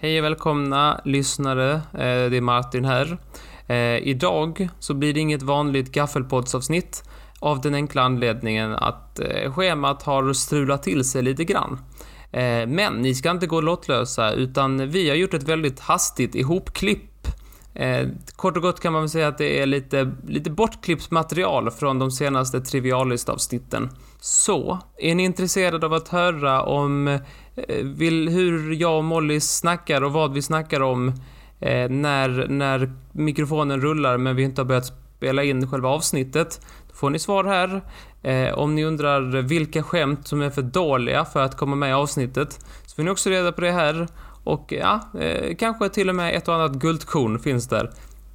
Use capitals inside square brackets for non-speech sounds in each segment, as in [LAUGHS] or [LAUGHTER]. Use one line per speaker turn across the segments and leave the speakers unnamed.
Hej och välkomna lyssnare, Eh, det är Martin här. Eh, Idag så blir det inget vanligt gaffelpoddsavsnitt av den enkla anledningen att eh, schemat har strulat till sig lite grann. Eh, Men ni ska inte gå lottlösa utan vi har gjort ett väldigt hastigt ihopklipp. Eh, Kort och gott kan man väl säga att det är lite, lite bortklippt material från de senaste trivialist-avsnitten. Så, är ni intresserade av att höra om eh, vill, hur jag och Molly snackar och vad vi snackar om eh, när, när mikrofonen rullar men vi inte har börjat spela in själva avsnittet. Då får ni svar här. Eh, om ni undrar vilka skämt som är för dåliga för att komma med i avsnittet så får ni också reda på det här. Och ja, eh, kanske till och med ett och annat guldkorn finns där.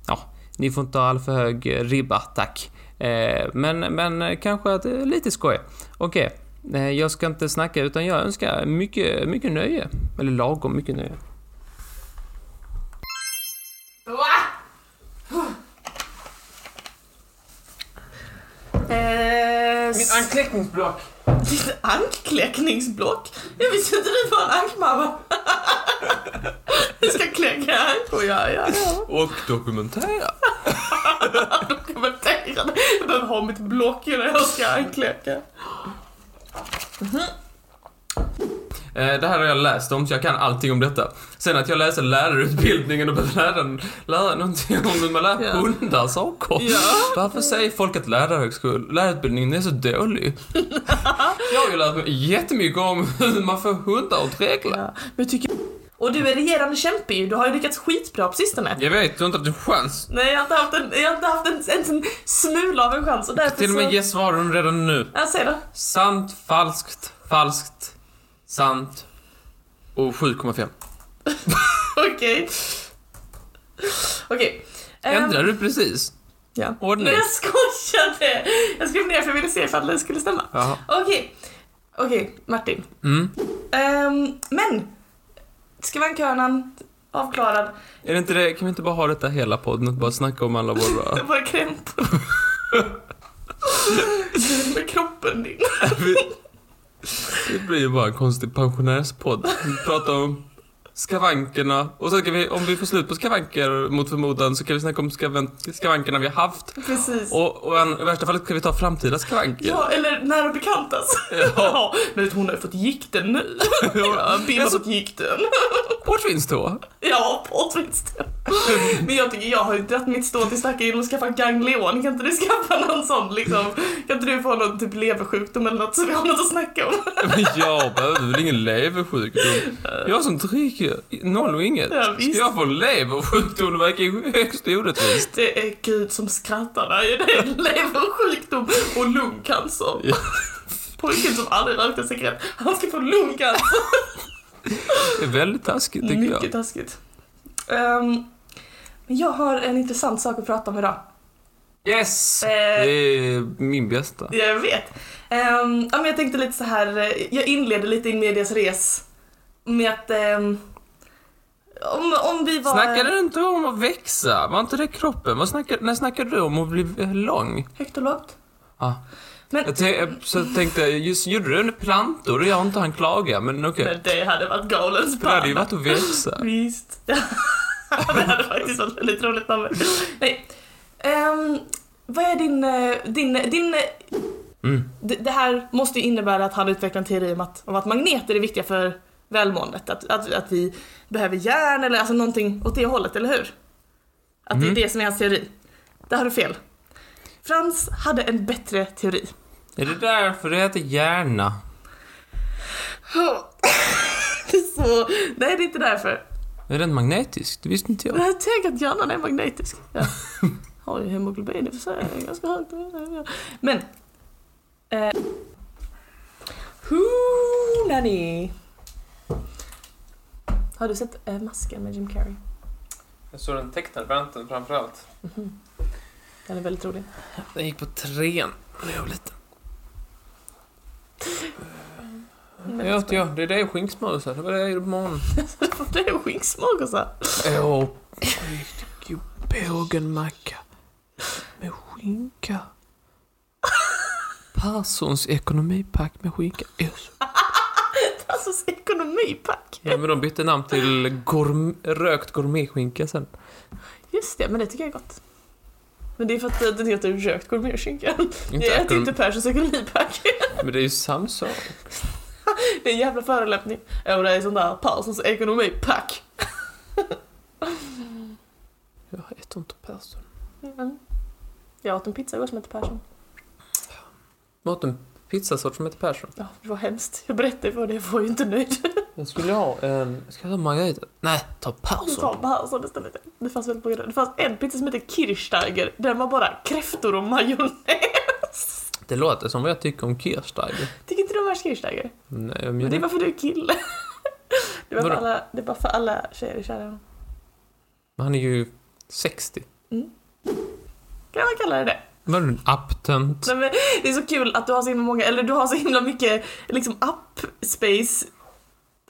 Ja, ni får inte ha all för hög eh, ribba, tack. Eh, men, men eh, kanske att, eh, lite skoj. Okej. Nej, jag ska inte snacka utan jag önskar mycket, mycket nöje. Eller lagom mycket nöje.
Eh, s- [LAUGHS]
ankläckningsblock!
ditt ankläckningsblock? Jag visste inte du var en ankmamma. [LAUGHS] Du ska kläcka ankor, ja, ja, ja.
Och dokumentera.
Kommentera det. Jag behöver ha mitt block innan jag ska ankläcka.
Eh, Det här har jag läst om, så jag kan allting om detta. Sen att jag läser lärarutbildningen och behöver lära, lära någonting om hur man lär
Ja.
hundar saker.
Ja.
Varför säger folk att lärarhögskol, lärarutbildningen är
[LAUGHS]
så dålig? jag har ju lärt mig jättemycket om hur man får hundar att regla.
Ja, men jag tycker... Och du är regerande kämpe ju. Du har ju lyckats skitbra på sistone.
Jag vet, du har inte haft en chans.
Nej, jag har inte haft en, jag har inte haft en, ens en smula av en chans och därför
Till och med
så...
ge svaren redan nu.
Ja, säg då.
Sant, falskt, falskt, Oh, sant och 7,5.
Okej. Okej. Ehm,
Ändrade du precis?
Ja.
Ordning.
Nej, jag skojade! Jag skrev ner för jag ville se ifall det skulle stämma.
Jaha.
Okej, okej Martin.
Mm.
Ehm, men, ska vara könan [LAUGHS] avklarad.
Är det inte det, kan vi inte bara ha detta hela podden och bara snacka om
[LAUGHS]
alla våra...
Våra krämpor. Med kroppen din.
Det blir ju bara en konstig pensionärspodd. Vi pratar om skavankerna och sen kan vi, om vi får slut på skavanker mot förmodan så kan vi snacka om skavan- skavankerna vi har haft.
Precis.
Och, och en, i värsta fallet kan vi ta framtida skavanker. [LAUGHS]
Ja, eller nära bekantas.
Ja.
[LAUGHS] Ja, men hon har ju fått gikten nu. Ja, Bill har fått gikten.
Portvinstå.
Ja, påtvinst. Men jag tycker jag har ju dragit mitt stå till stacken genom att skaffa ganglion. Kan inte du skaffa någon sån liksom? Kan inte du få någon typ leversjukdom eller något så vi har något att snacka om?
Men jag behöver väl ingen leversjukdom. Jag som dricker noll och inget.
Ja,
Ska
visst.
jag få leversjukdom? Det verkar ju högst orättvist.
Det är Gud som skrattar där ju. Det är leversjukdom och lungcancer.
Ja.
Pojken som aldrig rökte cigarett, han ska få lungcancer.
Det är väldigt taskigt tycker
Mycket
jag.
taskigt. Ehm, men jag har en intressant sak att prata om idag.
Yes!
Eh,
Det är min bästa.
Jag vet. Ehm, ja, men jag tänkte lite så här, eh, jag inleder lite in medias res med att ehm, om, om vi var...
Snackade du inte om att växa? Var inte det kroppen? Vad snackade, när snackade du om att bli eh, lång?
Högt och lågt?
Ah.
Men,
Jag te- jag så tänkte, just gjorde du en plantor? Jag har inte han klaga, men okej.
men det hade varit galen
Det hade
spann.
ju varit att växa.
Visst. [LAUGHS] det hade faktiskt varit väldigt roligt namn. Nej. Ehm, vad är din... eh, din, din
Mm.
det, det här måste ju innebära att han utvecklar en teori om att, om att magneter är viktiga för välmåendet. Att, att, att vi behöver järn eller alltså någonting åt det hållet, eller hur? Att
Mm.
det är det som är hans teori. Där har du fel. Frans hade en bättre teori.
Är det därför det heter hjärna?
Så, nej, det är inte därför.
Är den magnetisk? Det visste inte jag.
Nej, tänk att hjärnan är magnetisk. Ja. Har ju hemoglobin i och för sig, det är ganska högt. Men... Eh, Who nanny? Har du sett eh, Masken med Jim Carrey?
Jag såg den tecknade varianten framförallt.
Mhm. Den är väldigt rolig.
Den gick på trean när jag var liten. Jag
[LAUGHS]
åt jag. Det är det och skinksmörgåsar. Det var det jag gjorde på morgonen.
Alltså, Det är skinksmörgåsar.
Åh, riktigt god bågenmacka med skinka. Perssons ekonomipack med skinka. Åh, så-
[LAUGHS] Alltså ekonomipack.
Ja, men de bytte namn till gourm- rökt gourmetskinka sen.
Just det, men det tycker jag är gott. Men det är för att eh, den heter rökt gourmetskinka. [LAUGHS] Jag
Inte
äter
äter
inte
de-
Perssons ekonomipack. [LAUGHS]
Men det är ju samma sak.
Det är en jävla förolämpning. Och det är sån där Perssons ekonomipack.
Jag äter inte Persson.
Mm. Jag åt en pizza igår som hette Persson.
Jag åt en pizzasort som heter Persson.
Ja, det var hemskt. Jag berättade för dig, jag var ju inte nöjd.
Jag skulle ha en... Ska jag ta margarita? Nej, ta
Vi
Persson.
tar Persson istället. Det fanns väldigt många Det fanns en pizza som hette Kirchsteiger. Den var bara kräftor och majonnäs.
Det låter som vad jag tycker om Kirsteiger.
Tycker inte du om Ernst Kirchsteiger?
Nej, jag
Men
menar...
det är bara för att du är kille. [LAUGHS] Det var, för
Vadå?
alla, det var för alla tjejer i kärleken.
Men Han är ju 60.
Kan man kalla det det?
Var du en aptönt?
[LAUGHS] Nej, men det är så kul att du har så himla många, eller du har så himla mycket liksom app-space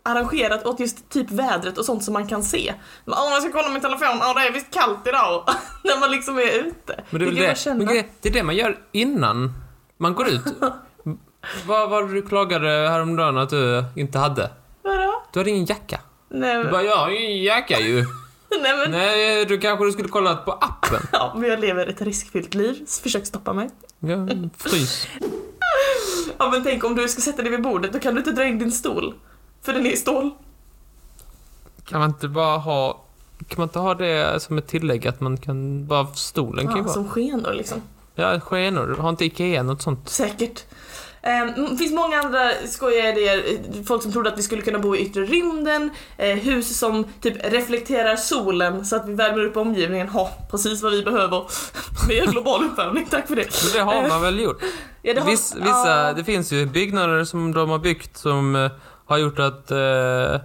arrangerat åt just typ vädret och sånt som man kan se. Åh, jag ska kolla min telefon. Åh, det är visst kallt idag. [LAUGHS] När man liksom är ute.
Men det är väl
kan man
det.
känna.
Men det, det är det man gör innan man går
[LAUGHS]
ut. Vad var det du klagade häromdagen att du inte hade?
Vadå?
Du hade ingen jacka.
Nej,
Du
men,
bara, jag har ju ingen jacka ju.
[LAUGHS] nej, men,
Nej, du kanske du skulle kolla på appen.
Ja, men jag lever ett riskfyllt liv. så Försök stoppa mig.
Jag frys.
Ja, men tänk om du ska sätta dig vid bordet, då kan du inte dra in din stol. För den är i stål.
Kan man inte bara ha... Kan man inte ha det som ett tillägg att man kan bara stolen kan ju
Ja,
vara...
som skenor liksom.
Ja, skenor. Har inte Ikea något sånt?
Säkert. Det finns många andra skojiga idéer. Eh, Folk som trodde att vi skulle kunna bo i yttre rymden. Eh, hus som typ reflekterar solen så att vi värmer upp omgivningen. Ha, precis vad vi behöver. [LAUGHS] Med global uppvärmning, tack för det.
Men det har man väl gjort?
Ja, det har-
Viss, vissa,
Ja.
Det finns ju byggnader som de har byggt som eh, har gjort att eh,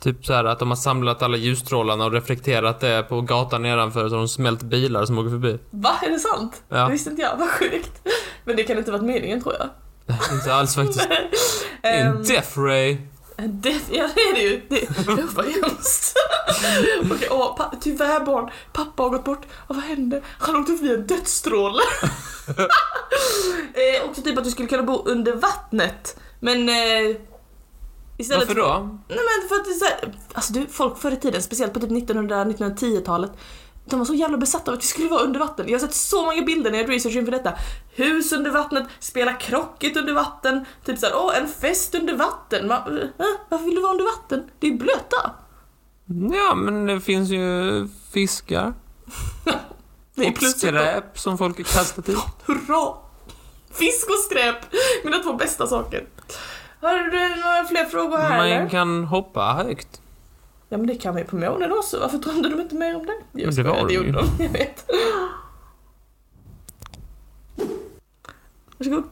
Typ så här att de har samlat alla ljusstrålarna och reflekterat det på gatan nedanför så de smält bilar som åker förbi.
Va, är det sant?
Ja.
Det visste inte jag, vad sjukt. Men det kan inte varit meningen tror jag.
Inte alls
[LAUGHS]
faktiskt. Det är
Ehm,
En death ray.
Det, ja det är det ju. Det, usch vad hemskt. [LAUGHS] Okej, åh, pa, tyvärr barn, pappa har gått bort. Åh, vad hände? Han åkte förbi en dödsstråle. eh, också typ att du skulle kunna bo under vattnet. Men eh, istället
Varför då?
Nej men för att det är så här, alltså du, folk förr i tiden, speciellt på typ 1900-1910-talet, de var så jävla besatta av att vi skulle vara under vatten. Jag har sett så många bilder när jag researchar inför detta. Hus under vattnet, spela krocket under vatten, typ såhär, åh en fest under vatten. Va, eh, varför vill du vara under vatten? Det är ju blöta.
Ja, men det finns ju fiskar.
Det är
Och
typ.
skräp som folk har
[LAUGHS]
kastat i.
Hurra! Fisk och skräp, mina två bästa saker. Har du några fler frågor här
Man
eller?
kan hoppa högt.
Ja men det kan man ju på månen också, varför drömde de inte mer om det?
Men det var
skojar,
de
gjorde
ju.
de, jag vet. Varsågod.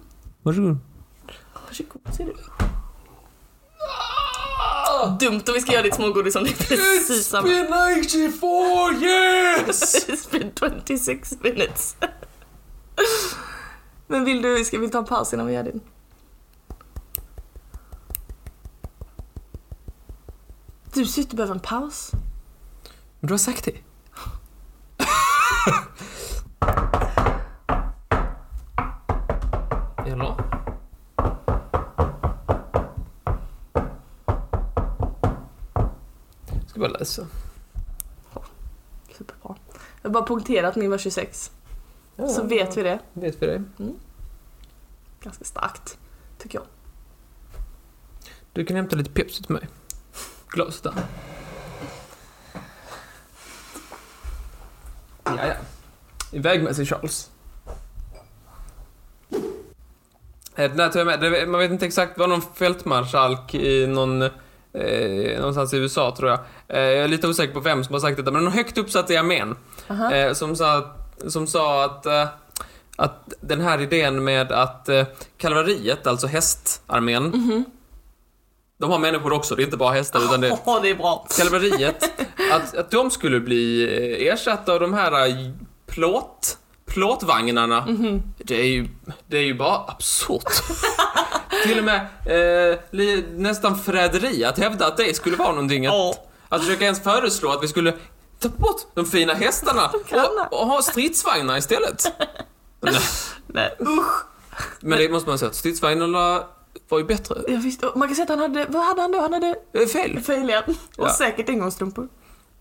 Varsågod.
Varsågod, ser du? Ah! Dumt om vi ska göra ditt smågodis som det är precis samma.
been 84
[LAUGHS]
years!
It's been 26 minutes. Men vill du, ska vi ta en paus innan vi gör din? Du ser ut att behöva en paus.
Men du har sagt det. Eller? Jag ska bara läsa.
Superbra. Jag har bara punkterat min var 26. Så
Mm.
vet vi det.
Vet vi det.
Ganska starkt, tycker jag.
Du kan hämta lite Pepsi till mig. Glaset där. Ja, ja. Iväg med sig Charles. Eh, Den här tar jag med. Det- Man vet inte exakt, det var någon fältmarskalk i någon... Eh, någonstans i USA tror jag. Eh, jag är lite osäker på vem som har sagt detta, men någon högt uppsatt i armén.
Aha.
Eh, som sa att, som sa att, eh, att den här idén med att eh, kavalleriet, alltså hästarmén, de har människor också, det är inte bara hästar utan det är
[LAUGHS] Ja, det är bra.
kalveriet. Att, att de skulle bli eh, ersatta av de här eh, plåt, plåtvagnarna. Det, är ju, det är ju bara absurt. [LAUGHS] Till och med eh, li, nästan förräderi att hävda att det skulle vara någonting. Att,
Ja.
att försöka ens föreslå att vi skulle ta bort de fina hästarna
Kallar.
och, och ha stridsvagnar istället.
Nej, usch.
Men det måste man säga att stridsvagnarna var ju bättre.
Jag visste, man kan säga att han hade, vad hade han då? Han hade
Eh, Fel.
fejlian och
Ja.
säkert engångsstrumpor.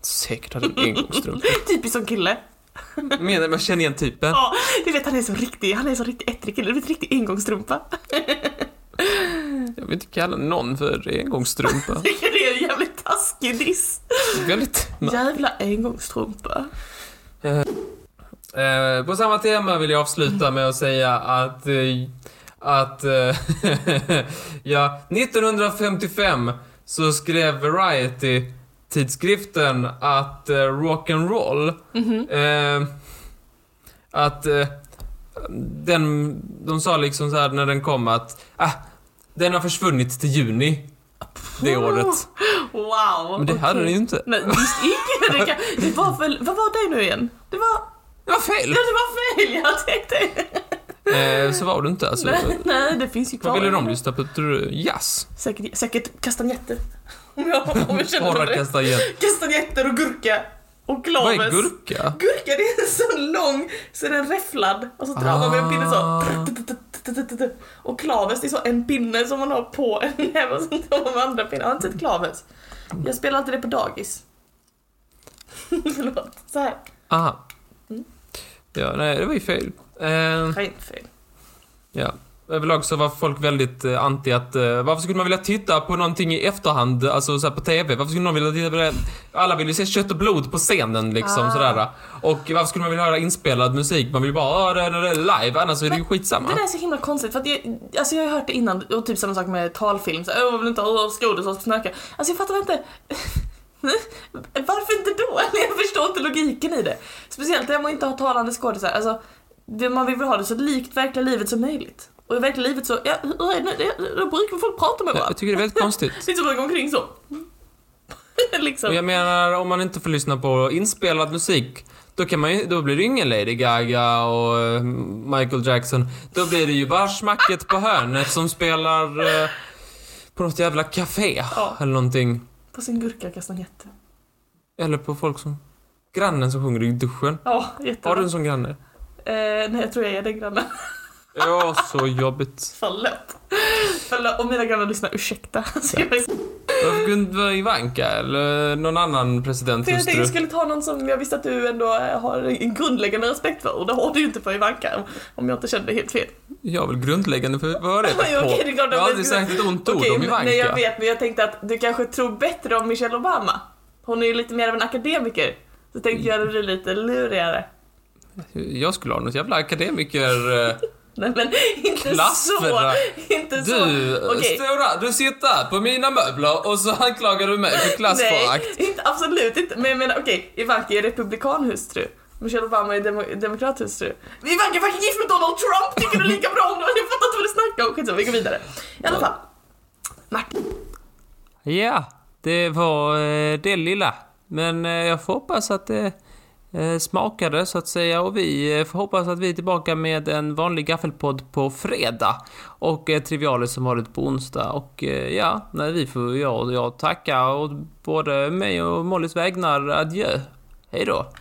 Säkert hade en engångsstrumpor.
[LAUGHS] Typiskt som kille.
Menar man känner igen typen.
Ja, du vet han är så riktig, han är så riktig ettrig kille, du vet riktig engångsstrumpa.
Jag vill inte kalla någon för engångsstrumpa.
Tycker [LAUGHS] det är en jävligt taskig diss.
Väldigt...
Jävla engångsstrumpa.
Eh, på samma tema vill jag avsluta med att säga att... Eh, att... Eh, [LAUGHS] ja, 1955 så skrev Variety tidskriften att eh, rock'n'roll... Eh, att... Eh, den, de sa liksom så här när den kom att... Ah, den har försvunnit till juni. Det året.
Wow.
Men det hade
okej.
den ju inte.
Nej, visst inte. Det, kan, det var väl, vad var det nu igen? Det var,
Det var
ja, det
fel!
var fel jag tänkte.
Eh, så var det inte alltså.
Nej, nej, det finns ju kvar.
Vad ville de lyssna på? Tror du? Jazz?
Säkert, säkert kastanjetter. [LAUGHS] Om jag, om jag känner
Bara
dem rätt.
kasta igen.
Kastanjetter och gurka. Och
Vad
klaves.
är gurka?
Gurka det är en sån lång, så är den räfflad och så drar man med en pinne
Ah.
så. Och klaves det är så en pinne som man har på en näve och sen tar man med andra pinnen. Har inte sett klaves? Jag spelar alltid det på dagis. [LAUGHS] Förlåt, så här.
Aha.
Mm.
Ja, nej, det var ju fel. Eh,
Jag är inte fel.
ja. Överlag så var folk väldigt eh, anti att eh, varför skulle man vilja titta på någonting i efterhand, alltså så här på TV? Varför skulle någon vilja titta på det? Alla vill ju se kött och blod på scenen liksom
Ah.
sådär. Och varför skulle man vilja höra inspelad musik? Man vill ju bara höra det, det, det live, annars är det ju skitsamma.
Det där är så himla konstigt för att jag, alltså jag har hört det innan och typ samma sak med talfilm. Så, här, Åh, jag vill inte ha skådisar som snarkar. Alltså jag fattar inte. [LAUGHS] Varför inte då? [LAUGHS] Eller Jag förstår inte logiken i det. Speciellt när man inte har talande skådisar. Alltså, det- man vill väl ha det så likt verkliga livet som möjligt. Och i verkliga livet så, ja, hur är det nu? Det- Då brukar folk prata
[LAUGHS]
med varandra.
Jag tycker det är väldigt konstigt.
Det är inte så många omkring så. [LAUGHS] liksom.
Och jag menar, om man inte får lyssna på inspelad musik, då, kan man ju, då blir det ju ingen Lady Gaga och eh, Michael Jackson. Då blir det ju bara smacket på hörnet som spelar eh, på något jävla café
Ja.
eller någonting.
På sin gurka kastanjetter.
Eller på folk som... Grannen som sjunger i duschen.
Ja,
Har
jättebra.
du en sån granne?
Eh, nej, jag tror jag är den grannen.
Ja, så jobbigt.
Förlåt. Förlåt. Om mina grannar lyssnar, ursäkta. [LAUGHS] Så jag,
Varför kunde inte vara Ivanka eller någon annan
för jag tänkte
presidenthustru?
jag skulle ta någon som jag visste att du ändå har en grundläggande respekt för och det har du ju inte för Ivanka om- om jag inte kände helt fel.
Jag är väl grundläggande för vad
[LAUGHS]
är det
Okej,
på?
det är klart att
Jag har
jag
aldrig
skulle-
sagt ett ont ord
Okej,
om
men- nej jag
Ivanka.
vet men jag tänkte att du kanske tror bättre om Michelle Obama. Hon är ju lite mer av en akademiker. Så tänkte jag göra det lite lurigare.
Jag skulle ha något jävla akademiker... eh,
Nej men inte så.
Klassförakt.
Inte så.
Du,
Okej.
stora, du sitter på mina möbler och så anklagar du mig för klassförakt.
[LAUGHS] Nej, inte, absolut inte. Men jag menar okej, Ivanka är republikanhustru. Michelle Obama är demo, demokrathustru. Ivanka är fucking gift med Donald Trump! Tycker du lika bra om honom? Jag fattar inte vad du snackar om. Skitsamma, vi går vidare. I alla fall. Martin.
Ja, det var eh, det lilla. Men eh, jag får hoppas att det eh, smakade så att säga och vi eh, får hoppas att vi är tillbaka med en vanlig gaffelpodd på fredag och eh, Trivialis som vanligt på onsdag och eh, ja, nej, vi får jag och jag tacka och både mig och Mollys vägnar adjö. Hej då!